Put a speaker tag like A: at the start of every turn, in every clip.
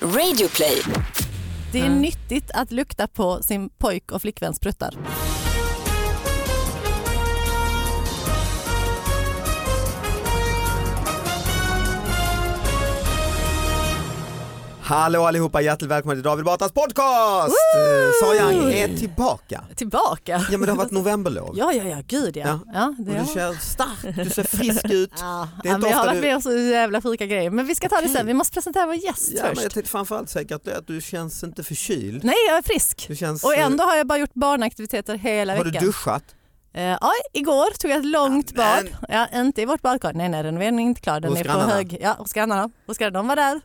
A: Radioplay.
B: Det är nyttigt att lukta på sin pojk och flickväns pruttar.
C: Hallå allihopa, hjärtligt välkomna till David Batras podcast! Eh, Sara Young är tillbaka.
B: Tillbaka?
C: Ja men det har varit novemberlov.
B: Ja, ja, ja, gud ja.
C: Ja.
B: ja. det
C: Och
B: har-
C: du kör stark, du ser frisk ut.
B: Ja,
C: Det är
B: men
C: inte
B: jag har
C: ofta
B: varit
C: du...
B: med om så jävla sjuka grejer. Men vi ska ta det sen, vi måste presentera vår gäst
C: Ja, men
B: först.
C: jag tänkte framförallt säkert det att du känns inte förkyld.
B: Nej, jag är frisk.
C: Du känns,
B: Och
C: eh,
B: ändå har jag bara gjort barnaktiviteter hela
C: har du
B: veckan.
C: duschat?
B: Eh, ja, igår tog jag ett långt
C: Ja, men-
B: bad. Ja, inte i vårt badkar, nej nej renoveringen är inte klar. Den
C: Hos
B: är på
C: grannarna?
B: hög. Ja, hos grannarna. Hos grannarna, de var där.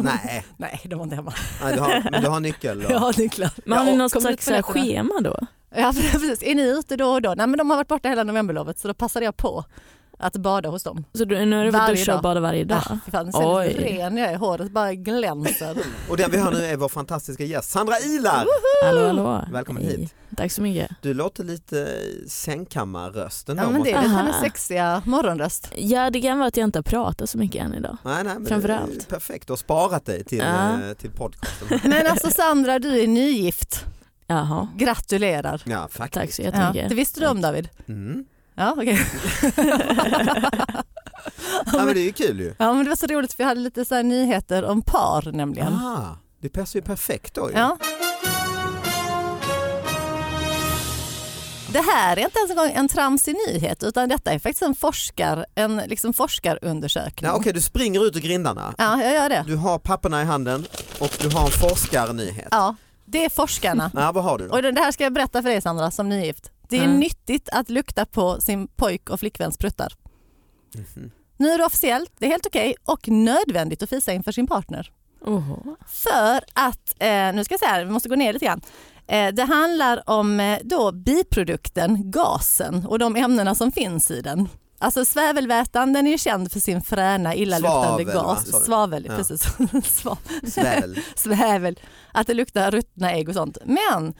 C: Nej,
B: Nej, de var inte hemma.
C: Nej du har, men du har nyckel. Då.
B: Jag har nycklar.
D: Men har ni
B: Ja,
D: något
B: kom ut på
D: slags så här
B: nätterna.
D: schema då?
B: Ja precis, är ni ute då och då? Nej men de har varit borta hela novemberlovet så då passade jag på att bada hos dem.
D: Så du, nu har du fått
B: Varje
D: duscha
B: dag.
D: och bada varje dag?
B: Ah, fy fan, sen är
D: Oj.
B: ren jag är, håret bara glänser.
C: Och den vi har nu är vår fantastiska gäst Sandra Ilar.
D: Hallå hallå.
C: Välkommen
D: Hej.
C: hit.
D: Tack så mycket.
C: Du låter lite sängkammarrösten
B: ja men det är
D: Aha.
B: hennes sexiga morgonröst.
D: Ja det kan vara att jag inte har pratat så mycket än idag.
C: Nej, nej, men
D: Framförallt.
C: det är Perfekt, du har sparat dig till,
D: Ja.
C: eh, till podcasten.
B: Men alltså Sandra du är nygift,
D: Jaha,
B: gratulerar.
C: Ja, faktiskt.
D: tack så
B: Ja,
D: jättemycket.
B: det visste du om David?
C: Mm.
B: Ja okej.
C: Ja, men det är ju kul ju.
B: Ja men det var så roligt för jag hade lite så här nyheter om par nämligen.
C: Ah, det passar ju perfekt då ju.
B: Ja. Det här är inte ens en gång en tramsig nyhet utan detta är faktiskt en, forskar, en liksom forskarundersökning.
C: Ja, Okej, du springer ut ur grindarna.
B: Ja, jag gör det.
C: Du har papperna i handen och du har en forskarnyhet.
B: Ja, det är forskarna.
C: Ja, vad har du då?
B: Och det det här ska jag berätta för dig Sandra som nygift. Det är
D: Mm.
B: nyttigt att lukta på sin pojk och flickväns pruttar.
C: Mhm.
B: Nu är det officiellt, det är helt okej och nödvändigt att fisa inför sin partner.
D: Oho.
B: För att, eh, nu ska jag säga, här, vi måste gå ner lite grann. Eh, det handlar om eh, då biprodukten gasen och de ämnena som finns i den. Alltså svavelvätan den är ju känd för sin fräna illaluktande
C: Svavel, va?
B: gas.
C: Sa du?
B: Svavel,
C: Ja.
B: precis. Sva-
C: Sväl.
B: Svavel. Att det luktar ruttna ägg och sånt. Men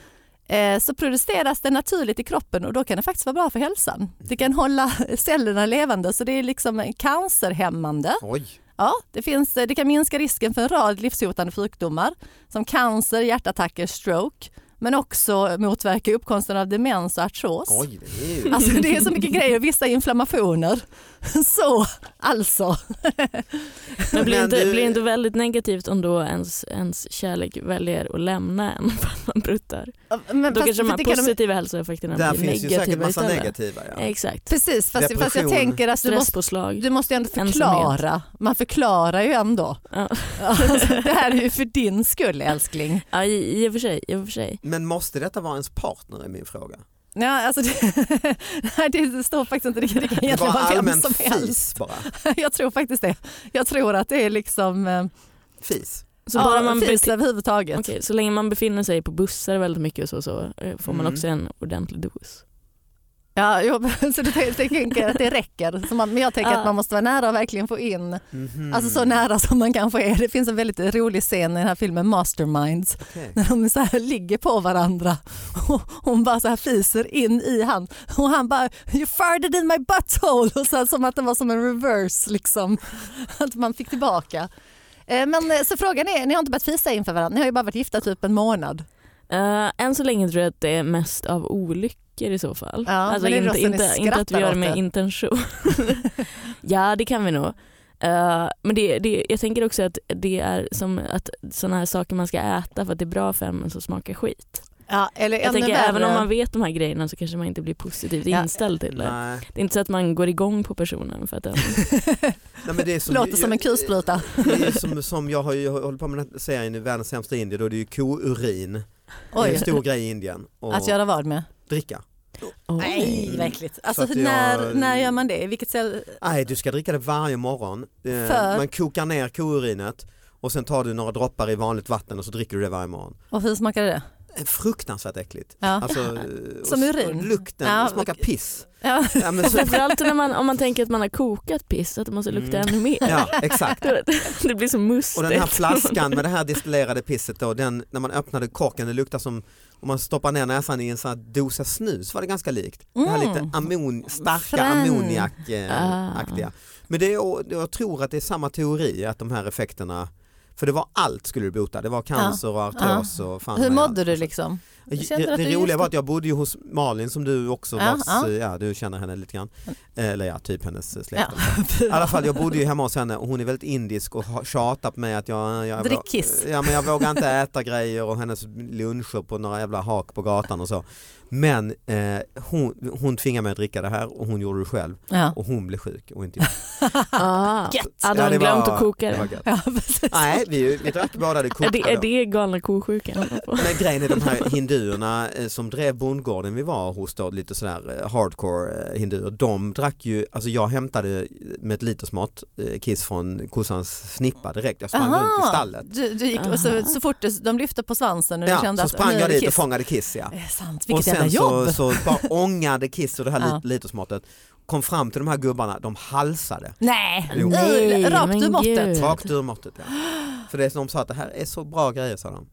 B: eh, så produceras den naturligt i kroppen och då kan det faktiskt vara bra för hälsan. Det kan hålla cellerna levande så det är liksom cancerhämmande.
C: Oj,
B: Ja, det, finns, eh, det kan minska risken för en rad livshotande sjukdomar som cancer, hjärtattacker, stroke men också motverka uppkomsten av demens och artros.
C: oj, det är ju...
B: Alltså det är så mycket grejer, vissa inflammationer. Så alltså,
D: Men blir det
C: Men
D: inte,
C: du-
D: blir det inte väldigt negativt om då ens, ens kärlek väljer att lämna en för att man bruttar?
B: men
D: Då
B: fast-
D: kanske de
B: det
D: här
B: kan de-
D: positiva hälsoeffekterna
C: Där
D: blir
C: finns ju säkert
D: negativa
C: massa
D: istället.
C: negativa. Ja.
D: Exakt.
B: Precis, fast, fast jag
C: Depression.
B: tänker att du måste,
D: Stresspåslag.
B: du måste ju ändå
D: Ensamhet.
B: förklara. Man förklarar ju ändå.
D: Ja.
B: Alltså, det här är ju för din skull älskling.
D: Ja, i, i och för sig. I och för sig.
C: Men måste detta vara ens partner är min fråga.
B: Ja, alltså, det, nej, det står faktiskt inte, det kan
C: Det är
B: egentligen
C: bara
B: vara vem
C: allmänt
B: som helst.
C: fis bara.
B: Jag tror faktiskt det. Jag tror att det är liksom eh,
C: Fis.
D: Så
B: ja,
D: bara man
B: fis
D: bete-
B: överhuvudtaget.
D: Okej, så länge man befinner sig på bussar väldigt mycket och så, så eh, får man
C: Mm.
D: också en ordentlig dos.
B: Ja, jo, så du tänker- du tänker att det räcker. Så man, men jag tänker
D: Ja.
B: att man måste vara nära och verkligen få in,
C: Mhm.
B: alltså så nära som man kanske är. Det finns en väldigt rolig scen i den här filmen Masterminds
C: Okej.
B: när de så här ligger på varandra och hon bara så här fiser in i han och han bara “you farted in my butthole” och så här, som att det var som en reverse liksom, att man fick tillbaka. Eh, Men eh, så frågan är, ni har inte börjat fisa inför varandra, ni har ju bara varit gifta typ en månad.
D: Eh, än så länge tror jag att det är mest av olyckor i så fall.
B: Ja,
D: alltså
B: men det är
D: inte,
B: då som ni
D: inte, inte att vi
B: skrattar
D: gör det
B: åt
D: med
B: det.
D: intention. ja det kan vi nog. Eh, men det, det, jag tänker också att det är som att sådana här saker man ska äta för att det är bra för en men som smakar skit.
B: Ja, eller
D: Jag
B: ännu
D: tänker
B: värre.
D: även om man vet de här grejerna så kanske man inte blir positivt
B: Ja.
D: inställd till det.
C: Nej.
D: Det är inte så att man går igång på personen för att den...
C: Nej, men det är som,
B: Låter som en kulspruta.
C: Det är ju som, som jag har ju hållit på med den här serien i Världens sämsta indier, då är det ju kourin. Det är en
B: Oj,
C: stor grej i Indien. Och
B: att göra vad med?
C: dricka.
D: Oj.
B: Nej, verkligt. Alltså,
C: Så att
B: när,
C: jag-
B: när gör man det? I vilket cell?
C: Nej, du ska dricka det varje morgon. Eh,
B: För?
C: Man kokar ner kourinet och sen tar du några droppar i vanligt vatten och så dricker du det varje morgon.
B: Och hur smakar det?
C: Eh, Fruktansvärt äckligt.
B: Ja.
C: Alltså, eh, och
B: Som
C: s-
B: urin.
C: och Lukten
B: Ja,
C: det smakar piss.
B: Ja.
C: Ja, men så,
D: Framförallt när man, om man tänker att man har kokat piss, att det måste lukta
C: Mm.
D: ännu mer.
C: ja, exakt.
D: Det blir så mustigt.
C: Och den här flaskan med det här destillerade pisset då, den, när man öppnade korken, det luktar som om man stoppar ner näsan i en sån här dosa snus var det ganska likt. Det här
B: Mm.
C: lite ammon, starka
B: Frän.
C: ammoniak-aktiga.
D: Ah.
C: Men det är, jag tror att det är samma teori att de här effekterna För det var allt skulle du bota, det var cancer och artros och fan
B: Hur
C: mig allt.
B: mådde du liksom?
C: Jag-
B: Kände du
C: Det,
B: att du
C: roliga
B: just-
C: var att jag bodde ju hos Malin som du också
B: Ja,
C: var,
B: ja.
C: ja du känner henne lite grann. Eller ja, typ hennes eh, släkt.
B: Ja.
C: I alla fall jag bodde ju hemma hos henne och hon är väldigt indisk och har tjatat på mig att jag, jag,
B: Drick kiss.
C: ja, men jag vågar inte äta grejer och hennes luncher på några jävla hak på gatan och så. Men eh, hon, hon tvingade mig att dricka det här och hon gjorde det själv
B: Ja.
C: och hon blev sjuk och inte jag.
D: Ah.
B: Gött!
D: Hade
C: Ja,
D: hon
C: det var-
D: glömt att koka
C: det var
D: det?
C: gött.
B: Ja, precis.
C: Nej, vi, vi drack bara det
D: Är
C: kokta.
D: det, är det galna ko-sjukan?
C: Men grejen är de här hinduerna eh, som drev bondgården vi var hos då, lite sådär eh, hardcore eh, hinduer, de drack ju, alltså jag hämtade med ett litersmått eh, kiss från kossans snippa direkt, jag sprang runt i stallet.
B: Du, du gick, och så,
D: Aha.
B: så fort det- de lyfte på svansen och du
C: Ja,
B: kände
C: så
B: att
C: sprang
B: nu är
C: jag
B: det
C: dit och
B: kiss.
C: fångade kiss ja.
B: Det är sant,
C: Och
B: vilket jävla
C: sen så,
B: jobb.
C: så bara ångade kiss och det här
B: Ja.
C: ja. litersmåttet, kom fram till de här gubbarna, de halsade.
B: Nej,
C: Jo.
B: Nej, rakt
D: men
B: ur måttet.
D: gud.
C: Rakt ur måttet ja. För det är som de sa att det här är så bra grejer sa de.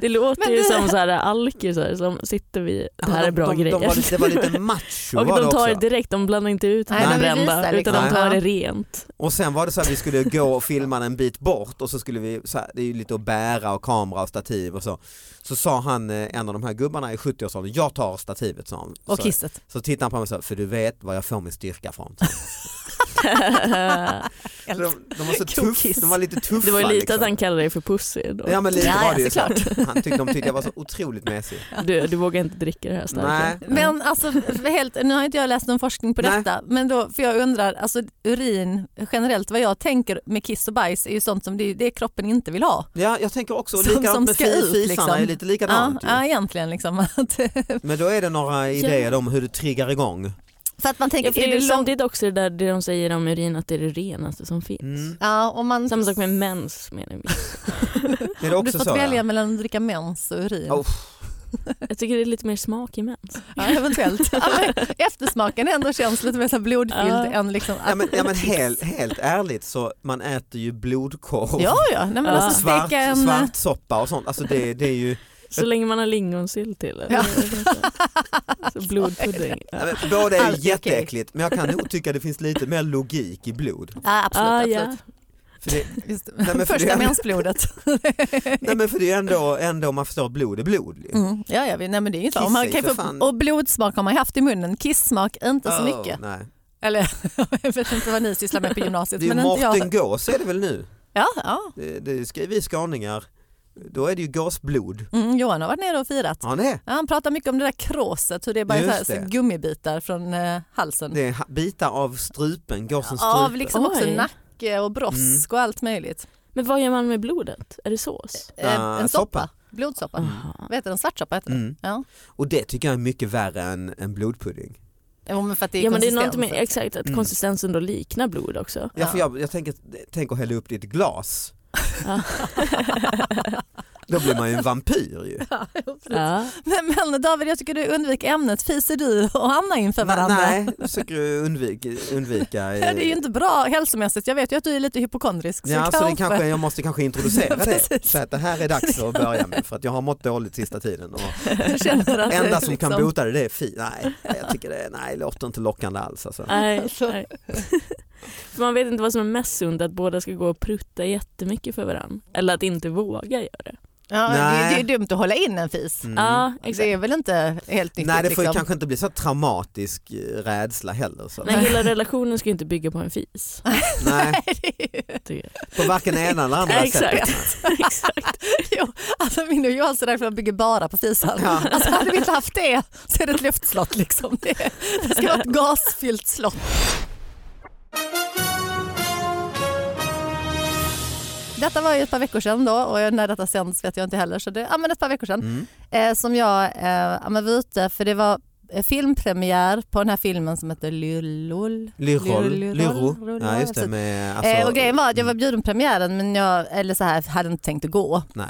D: Det låter
B: Men
D: ju
B: det-
D: som så här alkisar som sitter vid det här är bra
C: de, de,
D: grejer.
C: De var lite, det var lite macho
D: och
C: var det
D: de tar
C: också.
D: det direkt, de blandar inte ut
B: Nej,
D: det
C: de
D: brända
B: visar liksom.
D: utan de tar
B: Ja.
D: det rent.
C: Och sen var det så att vi skulle gå och filma en bit bort och så skulle vi, så här, det är ju lite att bära och kamera och stativ och så. Så sa han, eh, en av de här gubbarna i 70-årsåldern, jag tar stativet sa han.
B: Och
C: så,
B: kisset.
C: så tittade han på mig och sa, för du vet var jag får min styrka från. Så de, de, var så
B: Cool
C: tuff,
B: kiss.
C: de var lite tuffa.
D: Det var ju lite
C: liksom.
D: att han kallade dig för pussy då.
C: Ja men lite
B: Ja,
C: var det
B: ja,
C: ju så. Han tyckte, de tyckte jag var så otroligt mesig.
D: Du, du vågar inte dricka det här starka.
C: Nej.
B: Men alltså, helt, nu har inte jag läst någon forskning på
C: Nej.
B: detta, men då, för jag undrar, alltså urin generellt, vad jag tänker med kiss och bajs är ju sånt som det, är- det är kroppen inte vill ha.
C: Ja jag tänker också,
B: Som-
C: likadant
B: som
C: med
B: ska
C: fi-
B: ut,
C: fisarna
B: liksom.
C: är lite
B: Ja,
C: likadant. ju.
B: ja, egentligen liksom. Att,
C: Men då är det några idéer om hur du triggar igång.
B: för att man tänker,
D: Ja, för det är ju samtidigt också det där det de säger om urin att det är det renaste som finns.
C: Mm.
B: Ja, om man,
D: Samma sak med mens menar vi.
C: Är det
B: om du
C: också
B: fått
C: så? ja?
B: välja mellan att dricka mens och urin.
C: Oh.
D: Jag tycker det är lite mer smak i mens.
B: Ja, eventuellt. Ja, men Eftersmaken ändå känns lite mer så här blodfylld
D: Ja.
B: än liksom...
C: Ja men, ja, men helt, helt ärligt så man äter ju blodkorv,
B: ja, ja. Nej, men
D: Ja.
B: alltså
C: svart,
B: steka en...
C: svartsoppa och sånt. Alltså det, det är ju,
D: Så länge man har lingonsylt till det.
B: Ja.
D: Så Blodpudding.
C: ja, men, båda är
B: Allt
C: ju
B: är
C: jätteäckligt men jag kan nog tycka det finns lite mer logik i blod.
B: Ja, absolut.
D: Ah,
B: absolut.
D: ja.
C: För det,
B: Just,
C: men för det-
B: första mensblodet.
C: nej men för det är ju ändå, ändå man förstår att blod är blod. ju.
B: Mm. Ja, ja, vi- nej, men det är inget
C: Kiss
B: om man
C: är
B: kan
C: för
B: ju
C: fan-
B: få, Och blodsmak har man ju haft i munnen, kisssmak inte så
C: Oh,
B: mycket.
C: Nej.
B: Eller jag vet inte vad ni sysslar med på gymnasiet.
C: Det är
B: men
C: ju
B: inte jag.
C: Mårten Gås är det väl nu?
B: Ja, ja.
C: Det, det ska vi skåningar, då är det ju gåsblod.
B: Mm, Johan har varit nere och firat.
C: Ja det är,
B: Ja, han pratar mycket om det där kråset, hur det är bara så här,
C: Just det.
B: så gummibitar från eh, halsen.
C: det är typ. ha- bitar av strupen, gåsens
B: Av
C: strupe.
B: liksom också
D: Oj.
B: nacke och brosk och allt möjligt.
D: Men vad gör man med blodet? Är det sås?
B: Eh,
C: Ah,
B: en soppa,
C: soppa.
B: blodsoppa.
D: Aha.
B: Vad heter den? Svartsoppa heter den.
C: Mm.
B: Ja.
C: Och det tycker jag är mycket värre än, än blodpudding.
B: Jo, men för att det är
D: Ja men det är något
B: konsistensen.
D: med, exakt, att
C: Mm.
D: konsistensen då liknar blod också.
C: Ja, för jag, jag tänker, tänk att hälla upp det i ett glas.
D: Ja.
C: Då blir man ju en vampyr ju.
D: Ja.
B: men, men David, jag tycker du undviker ämnet. Fiser du och Anna inför varandra?
C: Nej, jag försöker undvika. undvika
B: Ja, Det är ju inte bra hälsomässigt. Jag vet ju att du är lite hypokondrisk.
C: Ja, så det kanske, jag måste kanske introducera
B: Ja,
C: det.
B: precis.
C: Så att det här är dags att börja med för att jag har mått dåligt sista tiden. Och
B: jag känner att det är
C: enda som
B: liksom-
C: kan bota det, det är fi. Nej, jag tycker det, nej, låter inte lockande alls. Alltså.
D: Nej,
B: Alltså.
D: nej. För man vet inte vad som är mest sunt, att båda ska gå och prutta jättemycket för varandra. Eller att inte våga göra det.
B: Ja, det, är- det
C: Nej.
B: är dumt att hålla in en fis.
C: Mm.
D: Ja, exakt.
B: Det är väl inte helt nyttigt?
C: Nej, det får ju
B: liksom.
C: kanske inte bli så traumatisk eh, rädsla heller. Så.
D: Men hela relationen ska ju inte bygga på en fis.
C: Nej,
D: tycker jag.
C: på varken ena eller andra sättet.
D: Exakt. exakt.
B: jo, alltså min och Johans är därför att bygger bara på fisar.
C: Ja.
B: Alltså, hade vi inte haft det så är det ett luftslott. Liksom. Det, det ska vara ett gasfyllt slott. Detta var ju ett par veckor sedan då och när detta sänds vet jag inte heller. Så det, ja, men ett par veckor sedan
C: Mm.
B: eh, som jag eh, ja, men var ute för det var eh, filmpremiär på den här filmen som heter Lyllol.
C: Lyrol,
B: Lyrol,
C: lyro,
B: lyrol,
C: ja just det
B: precis.
C: med
B: Eh,
C: alltså,
B: och grejen var att jag var bjuden på premiären men jag eller så här, hade inte tänkt att gå.
C: Nej.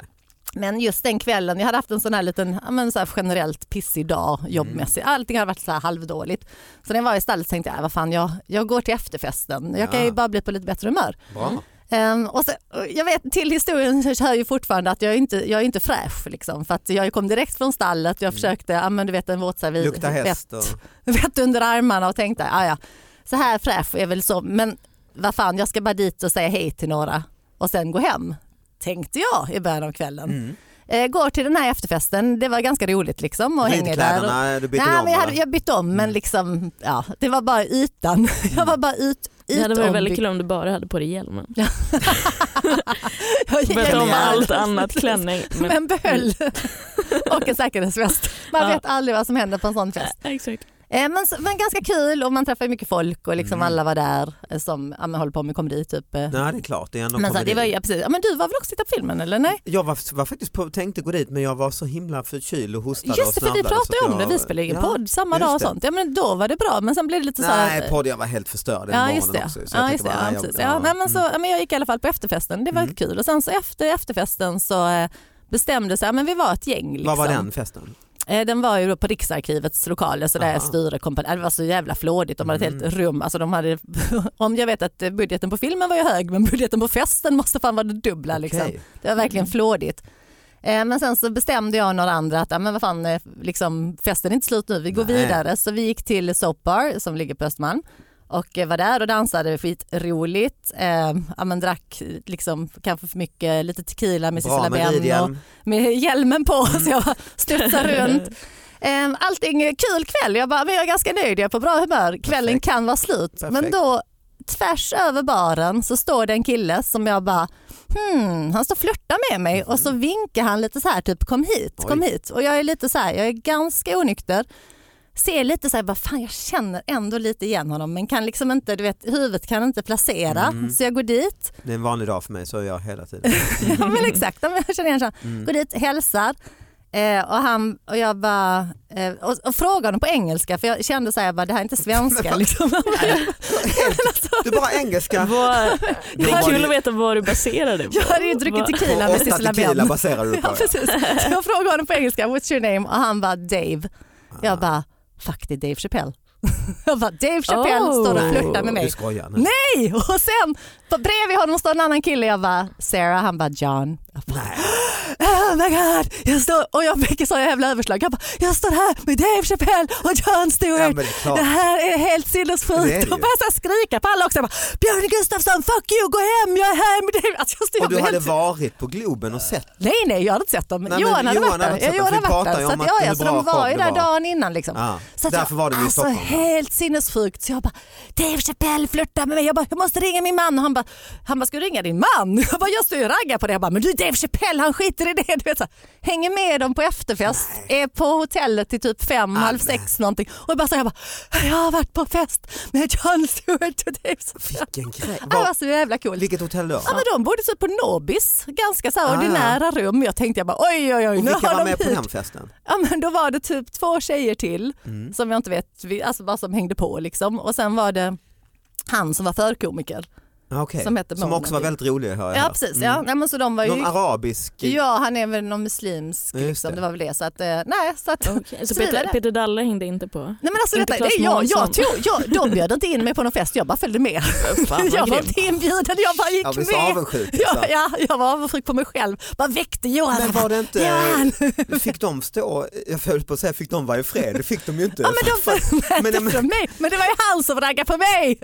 B: Men just den kvällen, jag hade haft en sån här liten ja, men så här generellt pissig dag
C: Mm.
B: jobbmässigt. Allting hade varit så här halvdåligt. Så när jag var i stallet tänkte jag, "Äh, vad fan jag, jag går till efterfesten. Jag kan ju
C: Ja.
B: bara bli på lite bättre humör.
C: Bra.
B: Ehm, och så, och jag vet, till historien så hör ju fortfarande att jag är inte jag är inte fräsch. Liksom, för att jag kom direkt från stallet, jag försökte, ja, men du vet en våtservis,
C: Mm. Lukta häst och...
B: vett under armarna och tänkte ja, ja, så här fräsch är väl så, men vad fan jag ska bara dit och säga hej till några. och sen gå hem. Tänkte jag i början av kvällen.
C: Mm.
B: Eh, går till den här efterfesten, det var ganska roligt liksom och hänger där. Och...
C: Ridkläderna, du bytte
B: Nej,
C: om
B: men jag, hade,
C: eh, va?
B: jag bytte om men
C: Mm.
B: liksom, ja, det var bara ytan. Jag var bara yt,
D: Det hade varit väldigt
B: ytombytt.
D: kul om du bara hade på dig hjälmen.
B: Jag gick
D: Bytt om
B: igenom
D: allt annat, klänning. men-
B: Men behöll. och en säkerhetsväst. Man
D: Ja.
B: vet aldrig vad som händer på en sån fest.
D: Ja, Exakt.
B: Eh, Men, så- men ganska kul och man träffade mycket folk och liksom
C: Mm.
B: alla var där eh, som ja, men håller på med komedi typ. eh.
C: Nej det är klart, det är ändå
B: men så, här,
C: komedi.
B: det var, ju- ja, precis. Ja, men du var väl också titta på filmen eller? Nej?
C: Jag var, var faktiskt på, tänkte gå dit men jag var så himla förkyld och hostade och
B: Just det, för vi
C: snörvlade,
B: pratade
C: så
B: ju
C: att
B: om det.
C: jag-
B: Vi spelade ju en
C: Ja.
B: podd samma
C: just
B: dag och
C: det.
B: sånt. Ja, men då var det bra men sen blev det lite så här...
C: Nej, podd jag var helt förstörd den
B: Ja
C: morgonen
B: just det.
C: också. Så jag
B: ja, just
C: tänkte
B: det.
C: bara,
B: Ja,
C: nej, jag-
B: precis. Ja, nej, men så,
C: mm.
B: ja, men jag gick i alla fall på efterfesten, det var
C: Mm.
B: kul. Och sen så efter efterfesten så eh, bestämde sig, ja, men vi var ett gäng. Liksom.
C: Vad var den festen?
B: Eh, den var ju då på Riksarkivets lokaler så där
C: Aha.
B: styrekompani, det var så jävla flådigt, de hade ett
C: Mm.
B: helt rum. Alltså, de hade, om jag vet att eh, budgeten på filmen var ju hög men budgeten på festen måste fan vara det dubbla. Liksom.
C: Okej.
B: Det var
C: Mm.
B: verkligen flådigt. Eh, Men sen så bestämde jag och några andra att ja, men vad fan, eh, liksom, festen är inte slut nu, vi går
C: Nej.
B: vidare. Så vi gick till Soap Bar som ligger på Östermalm och eh, var där och dansade skitroligt. Eh, ja, men drack liksom, kanske för mycket, lite tequila med
C: Bra
B: Sissela
C: med Mm.
B: Benn och
C: Lidhjelm.
B: med hjälmen på så jag studsade runt. Ehm, Allting är kul kväll, jag, bara, men jag är ganska nöjd, jag är på bra humör, kvällen
C: Perfekt.
B: kan vara slut. Men
C: Perfekt.
B: då tvärs över baren så står det en kille som jag bara hmm, han står och flörtar med mig och så vinkar han lite så här typ kom hit, kom
C: Mhm. Oj.
B: hit. Och jag är lite så här, jag är ganska onykter. Ser lite så här, bara, fan jag känner ändå lite igen honom men kan liksom inte, du vet huvudet kan inte placera.
C: Mm.
B: Så jag går dit
C: Det är en vanlig dag för mig, så är jag hela tiden.
B: ja men exakt, Ja, men jag känner igen så.
C: Mm.
B: Går dit, hälsar eh, och, han, och jag bara, eh, och, och frågar honom på engelska för jag kände så här, jag bara, det här är inte svenska. liksom.
C: Du bara engelska.
D: Vad- Det
C: Då var
D: är kul
C: det-
D: att veta vad du baserar det på.
B: Jag hade ju druckit
D: Vad-
B: tequila
C: Och
B: med
C: åtta
B: Sissela
C: tequila
B: Benn.
C: baserar du på.
B: Ja,
C: det.
B: precis. Så jag frågade honom på engelska, what's your name? Och han bara Dave.
C: Ah.
B: Jag bara, fuck det är Dave Chappelle. Jag bara, Dave Chappelle
D: Oh.
B: står och flörtar med
C: Du
B: mig.
C: skojar nu.
B: Nej. Hej! Och sen på- bredvid honom står en annan kille, jag bara, Sarah, han bara John. Jag bara,
C: Nej.
B: oh my god, jag står, och jag fick så jävla överslag. Jag, bara, jag står här med Dave Chappelle och John
C: Ja, men
B: Stewart.
C: det är klart.
B: det här är helt
C: Det är det
B: sinnessjukt.
C: ju.
B: Och började så här skrika på alla också. Jag bara, Björn Gustafsson, fuck you, gå hem, jag är här med Dave. Alltså, jag stod-
C: Och du
B: jag blev helt-
C: hade varit på Globen och sett
B: Nej, nej, jag hade inte sett dem.
C: men
B: Johan hade
C: Johan
B: varit där.
C: hade inte sett
B: Ja,
C: dem,
B: Johan
C: för vi
B: hade varit
C: pratar
B: där.
C: ju
B: Så
C: om
B: att,
C: att
B: ja, ja,
C: hur
B: så
C: bra
B: de var ju
C: show det
B: där
C: var.
B: dagen innan. Liksom.
C: Ja,
B: Så att
C: därför var de ju i
B: alltså,
C: Stockholm.
B: helt sinnessjukt. Så jag bara, Dave Chappelle flörtar med mig. Jag bara, jag måste ringa min man. Och han bara, han bara, ska du ringa din man? Jag bara, jag står ju och raggar på det. Jag bara, men du Dave Chappelle, han skiter i det. Du vet, så här, hänger med dem på efterfest, är på hotellet till typ
C: Ah,
B: fem, halv sex någonting. Och jag bara, så här, jag bara, jag har varit på fest med John Stewart och Dave Chappelle.
C: vilken grej.
B: Det var
C: Var,
B: så jävla coolt.
C: vilket hotell då?
B: Ja, men de bodde typ på Nobis, ganska så här
C: Ah.
B: ordinära rum. Jag tänkte jag bara oj oj oj,
C: Och
B: nu
C: vilka var
B: har de
C: med på
B: hit.
C: den festen?
B: Ja, men då var det typ två tjejer till
C: Mm.
B: som jag inte vet, vi- alltså bara som hängde på liksom. Och sen var det han som var förkomiker.
C: Ah, okej.
B: Som hette
C: som
B: Mona
C: också var
B: Lisa.
C: väldigt rolig hör jag
B: Ja
C: här.
B: precis,
C: Mm.
B: ja. Nej, men så de var ju,
C: Någon arabisk
B: ja han är väl någon muslimsk
C: Ja, just
B: liksom,
C: det.
B: det var väl det. Så att, eh, nej, så att
D: Okej, Så
B: Så vi var
D: Peter,
B: där.
D: Peter Dalle hängde inte på?
B: Nej men alltså
D: Inte
B: detta, det,
D: Claes
B: jag, jag
D: Månsson.
B: tog, jag, de bjöd inte in mig på någon fest, jag bara följde med.
C: Fan,
B: jag
C: vad
B: var
C: grym.
D: Eh,
B: inte inbjuden, jag bara gick
C: Jag blir så
B: med.
C: avundsjuk.
B: Ja,
C: liksom.
B: ja, jag var avundsjuk på mig själv, bara väckte Johan.
C: Men var det inte,
B: Johan!
C: fick de stå, jag höll på att säga fick de vara i fred, det fick de ju inte.
B: Ja, men, de för,
C: Men-
B: men,
C: men-
B: för mig. men det var ju han som raggade på mig.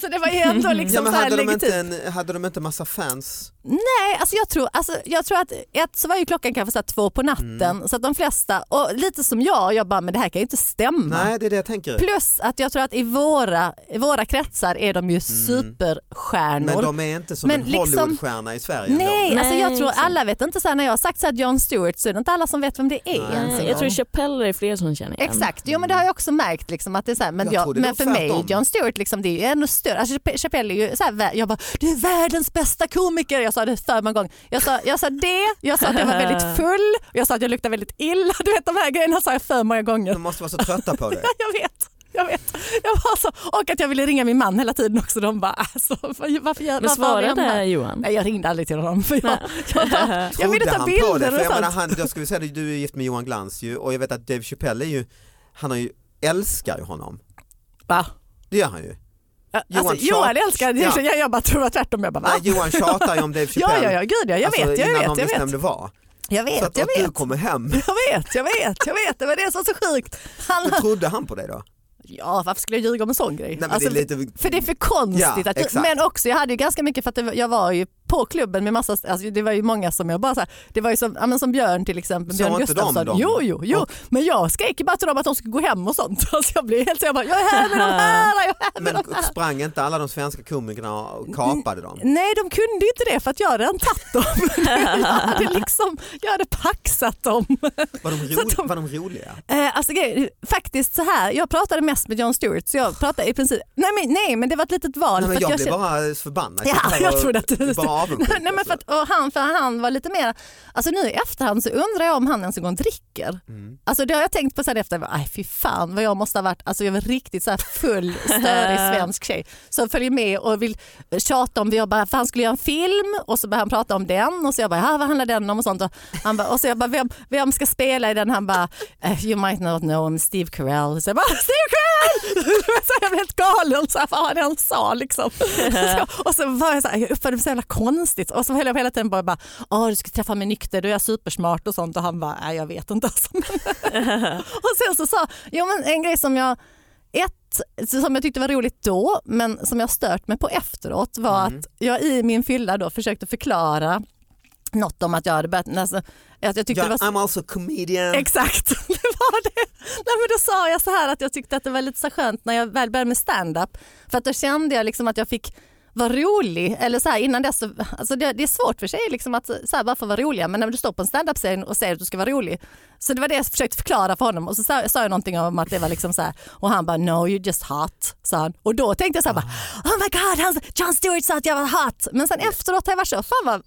B: Så det var ju ändå liksom
C: Ja, men
B: så här
C: hade, de
B: legitimt.
C: inte en, hade de inte massa fans?
B: Nej, alltså jag, tror, alltså jag tror att ett så var ju klockan kanske så här två på natten
C: Mm.
B: så att de flesta, och lite som jag, jag bara men det här kan ju inte stämma.
C: Nej det är det jag tänker.
B: Plus att jag tror att i våra, i våra kretsar är de ju superstjärnor.
C: Mm. Men de är inte som
B: Men
C: en
B: liksom-
C: Hollywoodstjärna i Sverige. ändå.
B: Nej, alltså jag
D: Nej,
B: tror
D: exakt.
B: alla vet inte så här, när jag har sagt så här John Stewart så är det inte alla som vet vem det är
C: Nej,
B: ens en
D: Jag tror
B: gång.
D: Chappelle är fler som känner igen.
B: Exakt, jo men det har jag också märkt liksom att det är så här, men,
C: Mm. Jag
B: jag,
C: trodde det
B: men
C: var
B: för mig,
C: tvärtom.
B: John Stewart liksom, det är ju ännu större. Alltså, Chappe- Chappelle är ju så här, vä- jag bara, du är världens bästa komiker. Jag sa det för många gånger. Jag sa, jag sa det, jag sa att jag var väldigt full, jag sa att jag luktade väldigt illa. Du vet de här grejerna sa jag för många gånger.
C: De måste vara så trötta på det.
B: Jag vet, jag vet. Jag var så, och att jag ville ringa min man hela tiden också. De bara, alltså, varför, varför gör-
D: Men
B: varför har vi honom här?
D: svarade Johan?
B: Nej jag ringde aldrig till honom för jag, jag, bara, jag ville
C: Trodde
B: ta
C: han på det?
B: bilder
C: För
B: och
C: jag menar,
B: sånt.
C: han, jag skulle säga det, du är gift med Johan Glans ju och jag vet att Dave Chappelle är ju, han har ju, älskar ju honom.
B: Va?
C: Det gör han ju. Johan
B: Alltså, Johan
C: Schatz-
B: älskar
C: Ja.
B: jag, jag bara tror att tvärtom. Jag bara, va?
C: Nej, Johan tjatar ju om Dave
B: Ja,
C: Chappelle.
B: ja, ja, gud ja. Jag
C: typ alltså,
B: vet, jag vet,
C: innan de
B: jag
C: visste
B: vet.
C: vem det var.
B: Jag
C: Så
B: vet,
C: att,
B: jag
C: att
B: vet.
C: du kommer hem.
B: Jag vet, jag vet, jag vet. Det var det som var så sjukt. Han,
C: Men trodde han på dig då? Nej,
B: ja, varför skulle jag ljuga om en sån grej?
C: men
B: Alltså,
C: det är lite...
B: För det är för konstigt.
C: Ja,
B: att du,
C: exakt.
B: men också, jag hade ju ganska mycket för att det var- jag var ju på klubben med massa, alltså det var ju många som jag bara så här, det var ju som, ja, men som Björn till exempel,
C: Sa
B: Björn
C: inte de
B: Gustafsson.
C: dem?
B: Jo, jo, jo,
C: Och-
B: men jag skrek ju bara till dem att de skulle gå hem och sånt. Alltså jag blev helt så jag bara, jag är här med de här, jag är här med
C: Men
B: de här.
C: sprang inte alla de svenska komikerna och kapade dem?
B: Nej, de kunde ju inte det för att jag hade redan tagit dem. jag, hade liksom, jag hade paxat dem.
C: Var de,
B: Så att
C: ro-
B: de-
C: var de roliga?
B: Eh, alltså, grejen- faktiskt så här, jag pratade mest med Jon Stewart så jag pratade i princip, nej men, nej, men det var ett litet val.
C: Nej,
B: för
C: men
B: att
C: jag,
B: jag
C: blev
B: kände-
C: bara förbannad.
B: Ja,
C: tyckte det
B: jag
C: var-
B: trodde att du-
C: det var bara alltså. avundsjuk.
B: Nej, men för att, och han, för han var lite mer, alltså nu i efterhand så undrar jag om han ens en gång dricker.
C: Mm.
B: Alltså det har jag tänkt på sen efter, nej fy fan vad jag måste ha varit, alltså jag var riktigt så här full störig svensk tjej som följer med och vill tjata om, jag bara, för han skulle göra en film och så började han prata om den och så jag bara, "Ah, vad handlar den om och sånt och, han bara, och så jag bara, vem, vem ska spela i den? Han bara, "Eh, you might not know him, Steve Carell. Så jag bara, Steve Carell! så jag blev helt galen, så här, vad var det han sa liksom? så, och så var jag så här, jag uppfattade mig så jävla konstigt och så höll jag hela tiden bara, bara "Ah, du ska träffa mig nykter, då är jag supersmart och sånt och han bara, nej jag vet inte alltså. Och sen så sa, jo men en grej som jag, ett, som jag tyckte var roligt då men som jag stört mig på efteråt var att jag i min fylla då försökte förklara något om att jag hade börjat, alltså, att jag tyckte
C: Ja,
B: det var så,
C: I'm also comedian.
B: Exakt, det var det. Nej, men då sa jag så här att jag tyckte att det var lite så skönt när jag väl började med stand-up för att då kände jag liksom att jag fick vara rolig. Eller så här, innan dess, så- alltså det, det är svårt för sig liksom att så här, bara få vara roliga men när du står på en stand-up-scen och säger att du ska vara rolig. Så det var det jag försökte förklara för honom och så sa, sa jag någonting om att det var liksom så här och han bara no you're just hot sa han. Och då tänkte jag så här bara oh my god han, John Stewart sa att jag var hot men sen efteråt har jag varit så fan vad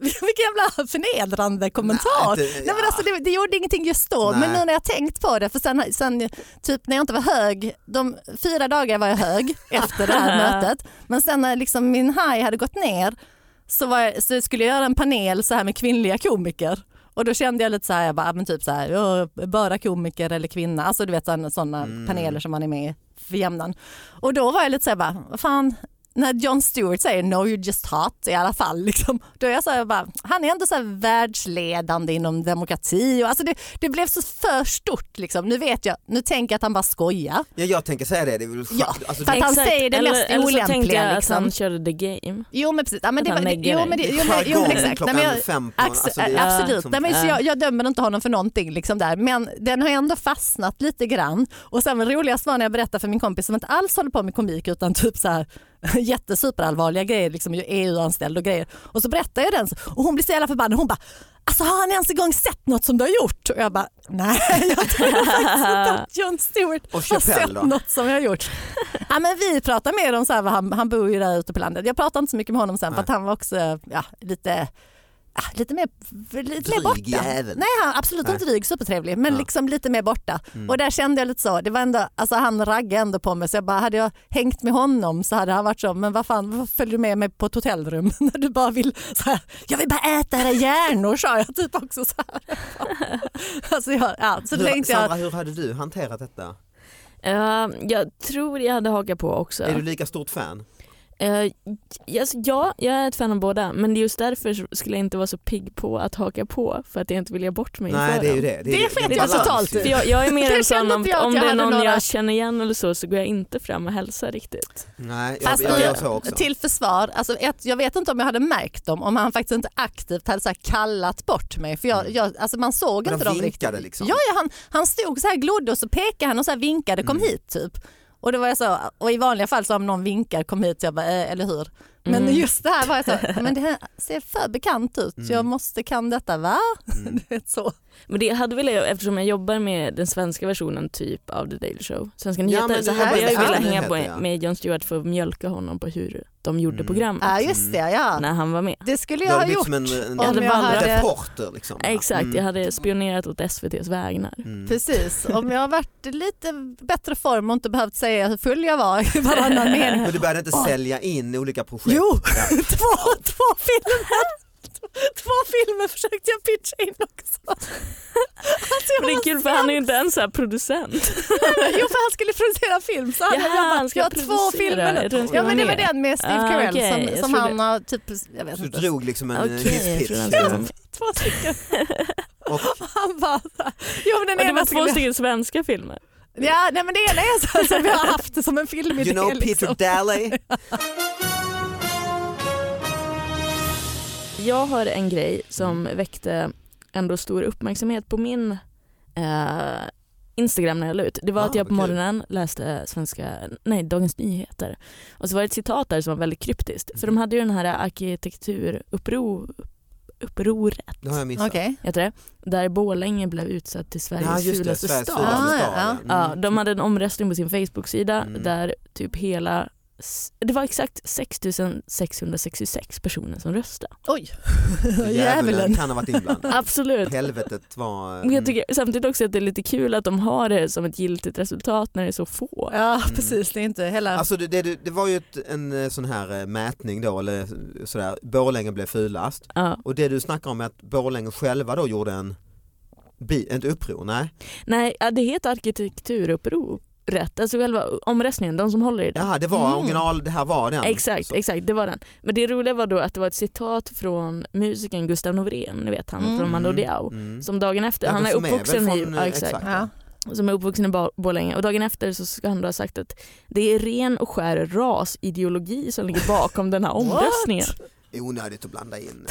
B: vilken jävla förnedrande kommentar.
C: Nej,
B: Nej,
C: det-
B: men
C: ja.
B: alltså, det, det gjorde ingenting just då
C: Nej.
B: men nu när jag tänkt på det, för sen, sen typ när jag inte var hög, de fyra dagar var jag hög efter det här mötet men sen när liksom min high hade gått ner så, var jag, så skulle jag göra en panel så här med kvinnliga komiker och då kände jag lite så här, jag bara, men typ så här, "Ja, bara komiker eller kvinna, alltså du vet sådana paneler som man är med i för jämnan. Och då var jag lite så här, bara, vad fan, när Jon Stewart säger no you're just hot i alla fall, liksom, då är jag så här, jag bara, han är ändå så här världsledande inom demokrati. Och, alltså det, det blev så för stort liksom. Nu vet jag, nu tänker jag att han bara skojar.
C: Ja, jag tänker säga det. det är väl skönt.
B: Ja,
C: alltså,
B: för att han
D: Exakt.
B: säger det
D: eller,
B: mest
D: eller så tänkte
B: olämpliga,
D: jag
B: liksom.
D: att han körde the game.
B: Jo men precis, ja, men
D: Att
B: det
D: han
B: var, det-
D: neggar
B: jo
D: dig.
B: men det, jo, men, jo,
C: Jargongen
B: men exakt. Nej,
C: klockan
B: men jag,
C: fem på
B: Ax-
C: alltså, det är
B: absolut,
C: liksom-
B: Nej, men så
D: Ja.
B: jag, jag dömer inte honom för någonting liksom där. men den har ändå fastnat lite grann. Och sen det roligaste var när jag berättade för min kompis som inte alls håller på med komik utan typ så här jättesuperallvarliga grejer, liksom ju EU-anställd och grejer. Och så berättade jag den så- och hon blir så jävla förbannad. Hon bara Alltså har han ens en gång sett något som du har gjort? Och jag bara, nej jag tror faktiskt inte att Jon Stewart
C: Och
B: har
C: Chappelle
B: sett
C: då?
B: något som jag har gjort. Ja, men vi pratar mer om så här, vad han, han bor ju där ute på landet. Jag pratar inte så mycket med honom sen för
C: Nej.
B: att han var också ja, lite, ja, lite mer, lite mer
C: Dryg
B: borta.
C: jävel.
B: Nej, han, absolut
C: Nej.
B: inte dryg, supertrevlig, men
C: Ja. Mm.
B: liksom lite mer borta. Och där kände jag lite så, det var ändå, alltså han raggade ändå på mig så jag bara, hade jag hängt med honom så hade han varit så, men vad fan, varför följer du med mig på ett hotellrum när du bara vill, så här, jag vill bara äta era hjärnor sa jag typ också så här. Alltså jag, ja, så då
C: hur,
B: tänkte jag,
C: Sandra, hur hade du hanterat detta?
D: Eh, jag tror jag hade hakat på också.
C: Är du lika stort fan?
D: Eh, j- alltså, ja, jag är ett fan av båda men just därför så skulle jag inte vara så pigg på att haka på för att jag inte vill ge bort mig
C: Nej,
D: inför
C: det är ju
D: dem.
C: det.
B: Det sket jag
C: balans
B: totalt
C: ju.
B: i.
D: För jag, jag är mer
B: Det
D: en sån
B: kände
D: om,
B: inte jag att
D: om
B: jag
D: det är
B: hade
D: någon
B: några-
D: jag känner igen eller så så går jag inte fram och hälsar riktigt.
C: Nej, jag,
B: Fast
C: jag
B: nu-
C: gör så också.
B: Till försvar, alltså ett, jag vet inte om jag hade märkt dem om han faktiskt inte aktivt hade så här kallat bort mig. För jag, jag, alltså man såg inte
C: Men Mm. de
B: dem riktigt.
C: vinkade liksom.
B: Ja, ja han, han stod så här glodde och så pekade han och så här vinkade kom
C: Mm.
B: hit typ. Och, då var jag så, och i vanliga fall så om någon vinkar kom hit, jag bara, eh, eller hur? Men
D: Mm.
B: just det här var jag så, men det här ser för bekant ut,
C: Mm.
B: jag måste kan detta va? Du vet så.
D: Men det hade väl jag, eftersom jag jobbar med den svenska versionen typ av The Daily Show, Svenska
C: Ja,
D: nyheter,
C: men
D: så
C: det
D: hade
B: är-
D: jag ju
B: det är
D: velat
C: nyheter,
D: hänga på
C: ja.
D: med Jon Stewart för att mjölka honom på hur de gjorde
C: Mm.
D: programmet
B: Ja just det, ja.
D: när han var med.
B: Det skulle
C: Du
B: jag
C: har
B: ha
C: blivit
B: gjort.
C: som liksom en, en,
B: om
D: hade
B: jag
D: vandrat.
B: hade-
C: reporter liksom. va?
D: Exakt,
C: Mm.
D: jag hade spionerat åt SVTs vägnar.
C: Mm.
B: Precis, om jag varit i lite bättre form och inte behövt säga hur full jag var i varannan mening.
C: Men du började inte
B: Åh.
C: sälja in olika projekt?
B: Jo,
C: Ja.
B: två, två filmer. Två filmer försökte jag pitcha in också. Alltså jag
D: Men det är
B: var
D: kul för han är ju inte ens så här producent.
B: sämre. Jo för han skulle producera film så han,
D: Jaha,
B: jag, bara,
D: han ska
B: jag har två
D: producera.
B: filmer
D: Jag
B: nu.
D: tror han ska
B: Ja men det var
D: vara med.
B: den med Steve
D: Ah,
B: Carell
D: okej, jag
B: som, som
D: trodde-
B: han har typ, jag vet
C: Så du
B: inte.
C: drog liksom en
D: Okej,
C: okay,
D: jag
C: hisspitch?
D: tror
B: Ja,
D: han ska-
C: eh,
B: två stycken.
C: Och
B: Han bara så här. Jo men
D: Och
B: den
D: det
B: ena
D: var två
B: skulle...
D: stycken svenska filmer.
B: Ja nej men det ena är så här som vi har haft det liksom. som en filmidé
C: you know Peter
B: liksom.
C: Daly?
D: jag har en grej som väckte ändå stor uppmärksamhet på min eh, Instagram när jag la ut. Det var
C: Ah,
D: att jag på
C: okej.
D: morgonen läste svenska, nej, Dagens Nyheter. Och så var det ett citat där som var väldigt kryptiskt.
C: Mm.
D: För de hade ju den här arkitekturupproret,
C: Det har jag missat.
B: Okej.
D: heter det, där Borlänge blev utsatt till Sveriges
C: Ja, just det,
D: fulaste
C: Sveriges
D: stad.
B: fulaste
C: fulaste
B: Ah,
C: stad.
B: ja.
D: Ja, de hade en omröstning på sin Facebook-sida
C: Mm.
D: där typ hela s- det var exakt 6 666 personer som röstade.
B: Oj,
C: Mm.
B: djävulen.
C: kan ha varit inblandad.
D: Absolut.
C: Helvetet var...
D: Men
C: mm.
D: jag tycker samtidigt också att det är lite kul att de har det som ett giltigt resultat när det är så få.
B: Ja,
C: Mm.
B: precis. Det är inte hela...
C: Alltså det, det, det var ju ett, en eh, sån här eh, mätning då, eller eh, sådär, Borlänge blev fulast.
D: Ja.
C: Och det du snackar om är att Borlänge själva då gjorde en, bi, ett uppror, nej?
D: Nej, ja, det heter arkitekturuppror. Rätt, alltså själva omröstningen, de som håller i den.
C: Jaha, det var
B: Mm.
C: original, det här var den.
D: Exakt,
C: Så-
D: exakt, det var den. Men det roliga var då att det var ett citat från musikern Gustav Norén, ni vet han
B: Mm.
D: från Mando
C: Mm,
D: Diao.
C: mm.
D: Som dagen efter,
C: Ja,
D: han är
C: som väl
D: uppvuxen i,
C: från,
D: ja,
C: eh,
D: exakt.
B: ja.
D: som är uppvuxen i Bo- Borlänge och dagen efter så ska han då ha sagt att det är ren och skär rasideologi som ligger bakom den här omröstningen.
C: Onödigt att blanda in.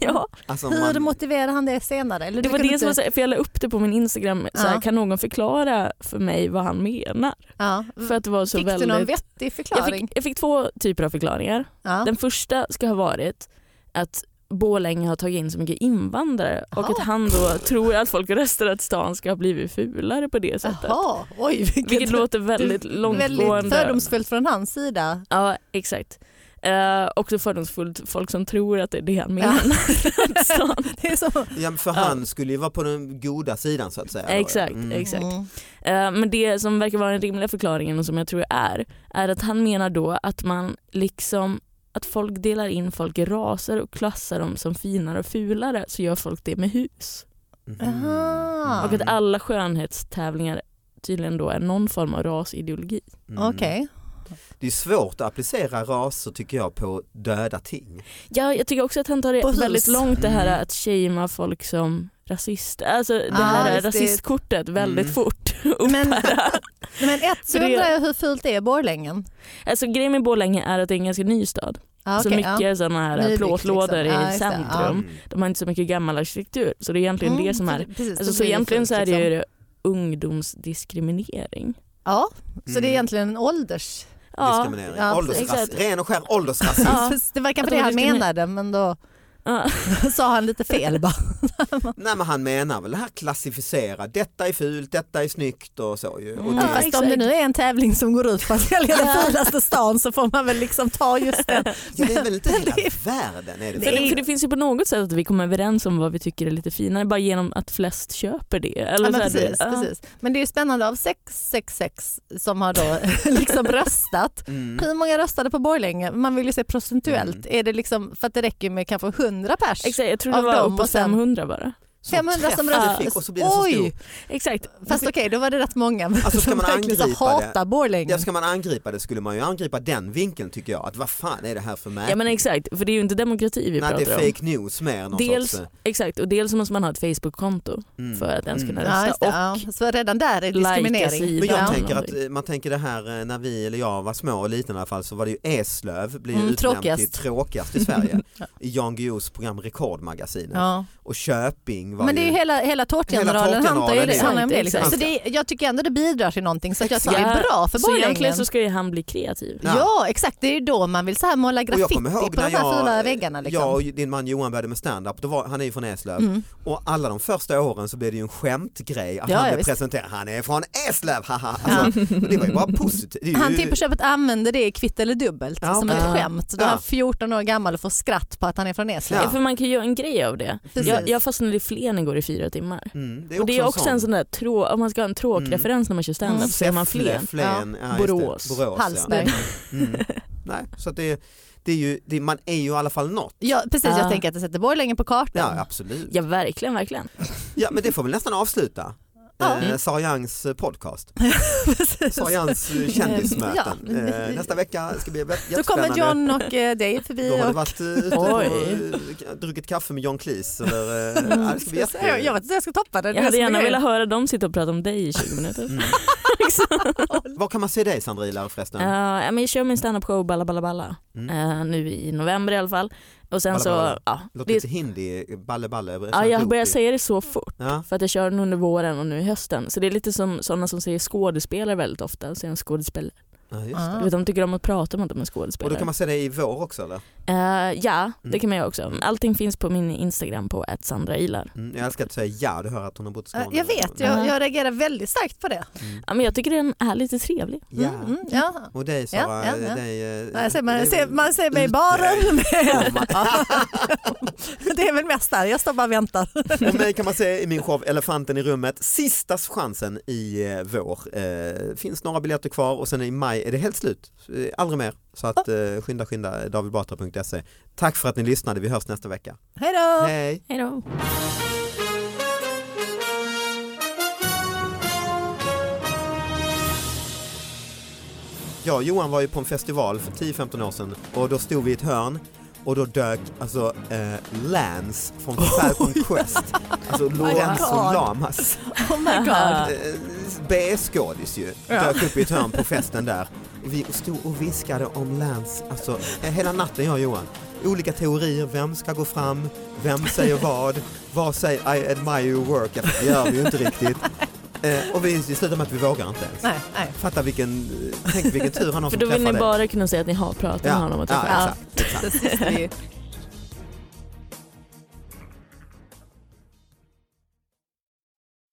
D: ja,
C: Alltså,
B: Hur
C: man,
B: motiverar han det senare? Eller
D: det
B: du
D: var
B: kunde
D: det som var
B: inte-
D: så här, för jag la upp det på min Instagram, så här,
B: Ja.
D: kan någon förklara för mig vad han menar?
B: ja.
D: För att det var så
B: Mm. Fick
D: väldigt...
B: du någon vettig
D: jag,
B: förklaring?
D: fick, jag fick två typer av förklaringar.
B: Ja.
D: Den första ska ha varit att Borlänge har tagit in så mycket invandrare och
B: Jaha.
D: att han då tror att folk röstar att stan ska ha blivit fulare på det sättet.
B: Jaha, oj vilket,
D: Vilket låter väldigt
B: väldigt
D: långtgående.
B: fördomsfullt från hans sida.
D: Ja, exakt. Eh, också fördomsfullt folk som tror att det är det han
B: Ja.
D: menar. Att stan-
B: Det är
D: Mm.
B: så.
C: ja, men för
D: Ja.
C: han skulle ju vara på den goda sidan så att säga. då.
D: Exakt, exakt.
B: Mm.
D: Eh, men det som verkar vara den rimliga förklaringen och som jag tror är, är att han menar då att man liksom att folk delar in folk i raser och klassar dem som finare och fulare så gör folk det med hus.
C: Mhm.
B: Aha.
D: Och att alla skönhetstävlingar tydligen då är någon form av rasideologi.
C: Mm.
B: Okej.
C: Det är svårt att applicera raser tycker jag på döda ting.
D: Ja, jag tycker också att han tar det
B: På hus.
D: väldigt långt det här
C: Mm.
D: att shamea folk som rasist. Alltså det
B: Ah,
D: här
B: just det.
D: rasistkortet väldigt
C: Mm.
D: fort.
B: Men, men ett så
D: För det-
B: undrar jag hur fult det är Borlängen?
D: Alltså grejen med Borlänge är att det är en ganska ny stad.
B: Ja,
D: så
B: okej,
D: mycket
B: ja.
D: sådana här
B: Nybyggt
D: plåtlådor
B: liksom. Ja,
D: i
B: just det, ja.
D: centrum. De har inte så mycket gammal arkitektur. Så det är egentligen
B: Mm,
D: det som
B: så
D: är.
B: precis, då
D: Alltså, så
B: blir det
D: egentligen
B: fult,
D: så är det
B: liksom.
D: ju ungdomsdiskriminering.
B: Ja, så det är
C: Mm.
B: egentligen en ålders...
C: Diskriminering.
B: ja,
C: Åldersras-
D: exakt.
C: ren och skär åldersrasism.
D: Ja. Alltså,
B: Det var
D: Att
B: kanske
D: de
B: det han
D: diskriminerar.
B: menade men då
D: Ja.
B: sa han lite fel bara.
C: Nej men han menar väl det här klassificera, detta är fult, detta är snyggt och så ju. Och
D: Ja,
B: Mm. Ja,
C: det,
B: fast
D: exakt.
B: om det nu är en tävling som går ut på att välja den
D: Ja.
B: fulaste stan så får man väl liksom ta just den.
C: ja, det är väl inte hela
B: Det
C: världen är det,
D: För
C: väl?
D: det, för det finns ju på något sätt att vi kommer överens om vad vi tycker är lite finare bara genom att flest köper det. Eller
B: Ja, men,
D: så här, det-
B: precis,
D: ja.
B: precis. men det är ju spännande av 666 som har då liksom röstat.
C: Mm.
B: Hur många röstade på Borlänge? Man vill ju se procentuellt.
C: Mm.
B: Är det liksom, för att det räcker med kanske 100 pers?
D: Exakt, jag tror
B: Av
D: det var
B: dem
D: uppåt
B: och sen-
D: 500 bara.
B: 500 som
C: träff du
D: röstar.
C: fick Och så blir det så
B: Oj!
C: stor.
D: Exakt.
B: Fast okej, då var det rätt många. Men
C: Alltså, ska
B: som
C: man
B: verkligen så
C: angripa
B: hatar Borlänge.
C: Ja, ska man angripa det skulle man ju angripa den vinkeln tycker jag. Att vad fan är det här för mätning?
D: Ja men exakt, för det är ju inte demokrati
C: Nej,
D: vi
C: det
D: pratar
C: är
D: om.
C: fake news mer än någon
D: Dels-
C: sorts... eh,
D: Exakt, och dels måste man ha ett Facebook-konto
C: mm,
D: för att ens
C: mm.
D: kunna
B: Ja, just det,
D: rösta.
B: ja. Så redan där är
D: Lajka
B: diskriminering.
D: sidan.
C: Men jag
D: Ja.
C: tänker att eh, man tänker det här eh, när vi eller jag var små och liten i alla fall så var det ju Eslöv blev ju
B: Mm,
C: utnämnd till
B: tråkigast.
C: tråkigast i Sverige
B: Ja.
C: i Jan Guillous program Rekordmagasinet
B: Ja.
C: och Köping var
B: Men det är
C: ju
B: ju hela, hela
C: Hela
B: tårtgeneralen
C: tårtgeneralen
B: handlar ju
C: är
B: det,
C: det.
B: handlar om det.
D: Exakt,
B: Liksom. Så
C: exakt.
B: det är, jag tycker ändå det bidrar till någonting så att jag tycker det
D: Ja,
B: är bra för
D: Så egentligen
B: Borlänge.
D: så ska ju han bli kreativ.
C: Ja.
B: Ja. exakt, det är ju då man vill så här måla
C: Och jag
B: graffiti på
C: kommer
B: de
C: ihåg när
B: här
C: jag-
B: fula väggarna. Liksom.
C: Jag och din man Johan började med stand-up, då var, han är ju från Eslöv
B: Mm.
C: och alla de första åren så blev det ju en skämtgrej att
B: Ja,
C: han
B: ja,
C: blev
B: visst.
C: presenterad, han är från Eslöv, haha. Alltså, Det var ju bara positivt. Det är ju-
B: Han typ- till på köpet använder det i kvitt eller dubbelt
C: Ja,
B: som
C: okej.
B: ett skämt. Då är
C: Ja.
B: han 14 år gammal och får skratt på att han är från Eslöv.
C: Ja.
D: För man kan ju göra en grej av det.
B: Precis.
D: Jag, jag fastnade i Flen igår i fyra timmar.
C: Mm,
D: och det är också en sån där tråk, om man ska ha en
C: Mm.
D: tråkreferens när man kör standup
B: Mm.
D: så är man
C: Säffle,
D: Flen.
C: Flen, E ja. just det.
D: Borås.
C: Borås ja.
B: Hallsberg.
C: Mm. Nej, så att det, det är ju, det, man är ju i alla fall något.
B: Ja, precis,
D: Ah.
B: jag tänker att det sätter Borlänge på kartan.
C: Ja, absolut.
D: Ja verkligen, verkligen.
C: Ja, men det får vi nästan avsluta.
B: Ja.
C: Eh, Sara Youngs podcast. Sara Youngs eh, kändismöten.
B: Ja.
C: Eh, nästa vecka ska bli jätt-
B: Då
C: jättespännande.
B: kommer John och eh, Dave förbi.
C: Då har du
B: Och...
C: varit eh, ute och eh, druckit kaffe med John Cleese. Eller, eh, ja, det ska bli jätte...
B: Jag, jag vet inte jag ska toppa det.
D: Jag hade gärna velat
B: ha...
D: höra dem sitta och prata om dig i 20 minuter.
C: Mm. Var kan man se dig Sandra Ilar förresten?
D: Eh, ja, men jag kör min standup show Balla Balla Balla
C: Mm.
D: eh, nu i november i alla fall. Och sen
C: Balla,
D: så,
C: balla, balla.
D: ja.
C: Låter
D: Det,
C: lite hindi, balle balle.
D: ja jag
C: ihop
D: börjar
C: det.
D: säga det så fort.
C: Ja,
D: För att jag kör den under våren och nu i hösten. Så det är lite som sådana som säger skådespelare väldigt ofta. Och säger en skådespelare.
C: ja just.
B: Ah.
D: Du vet, de tycker om att prata om att de är
C: Och då
D: skådespelare.
C: kan man se det i vår också eller?
D: Eh, ja, det
C: Mm.
D: kan man göra också. Allting finns på min Instagram på att Sandra Ilar.
C: Mm, jag älskar att säga ja, du hör att hon har bott i Skåne.
B: Jag vet,
C: ja.
B: jag, jag reagerar väldigt starkt på det.
C: Mm.
D: Ja, men jag tycker den är lite trevlig.
C: ja.
B: Mm, mm, ja.
C: Och dig Sara,
B: Ja, ja, ja.
C: dig... eh,
B: Nej, jag ser, man,
C: dig-
B: ser, man ser mig i
C: Ute.
B: baren.
C: Ja.
B: det är väl mest där, jag står bara och väntar.
C: Och mig kan man se i min show Elefanten i rummet, sista chansen i eh, vår. Eh, finns några biljetter kvar och sen i maj är det helt slut, eh, aldrig mer. Så att eh, skynda skynda, davidbatra.se. Tack för att ni lyssnade, vi hörs nästa vecka.
B: Hej då!
C: Hej!
D: Hej då.
C: Jag och Johan var ju på en festival för 10-15 år sedan och då stod vi i ett hörn och då dök alltså eh, Lance från Falcon Quest, alltså Lorenzo
B: God.
C: Lamas,
B: Oh my god.
C: eh, B-skådis ju, dök upp i ett hörn på festen där. Vi stod och viskade om Lance, alltså eh, hela natten jag och Johan. Olika teorier, vem ska gå fram, vem säger vad, vad säger I admire your work, ja, det gör vi ju inte riktigt. Eh, och vi slutade med att vi vågar inte ens.
B: Nej, nej.
C: Fatta vilken, tänk vilken tur han har
D: För
C: som
D: då vill ni
C: träffade.
D: bara kunna säga att ni har pratat med honom och
C: ja,
D: träffat
C: exakt, exakt.
B: Precis, vi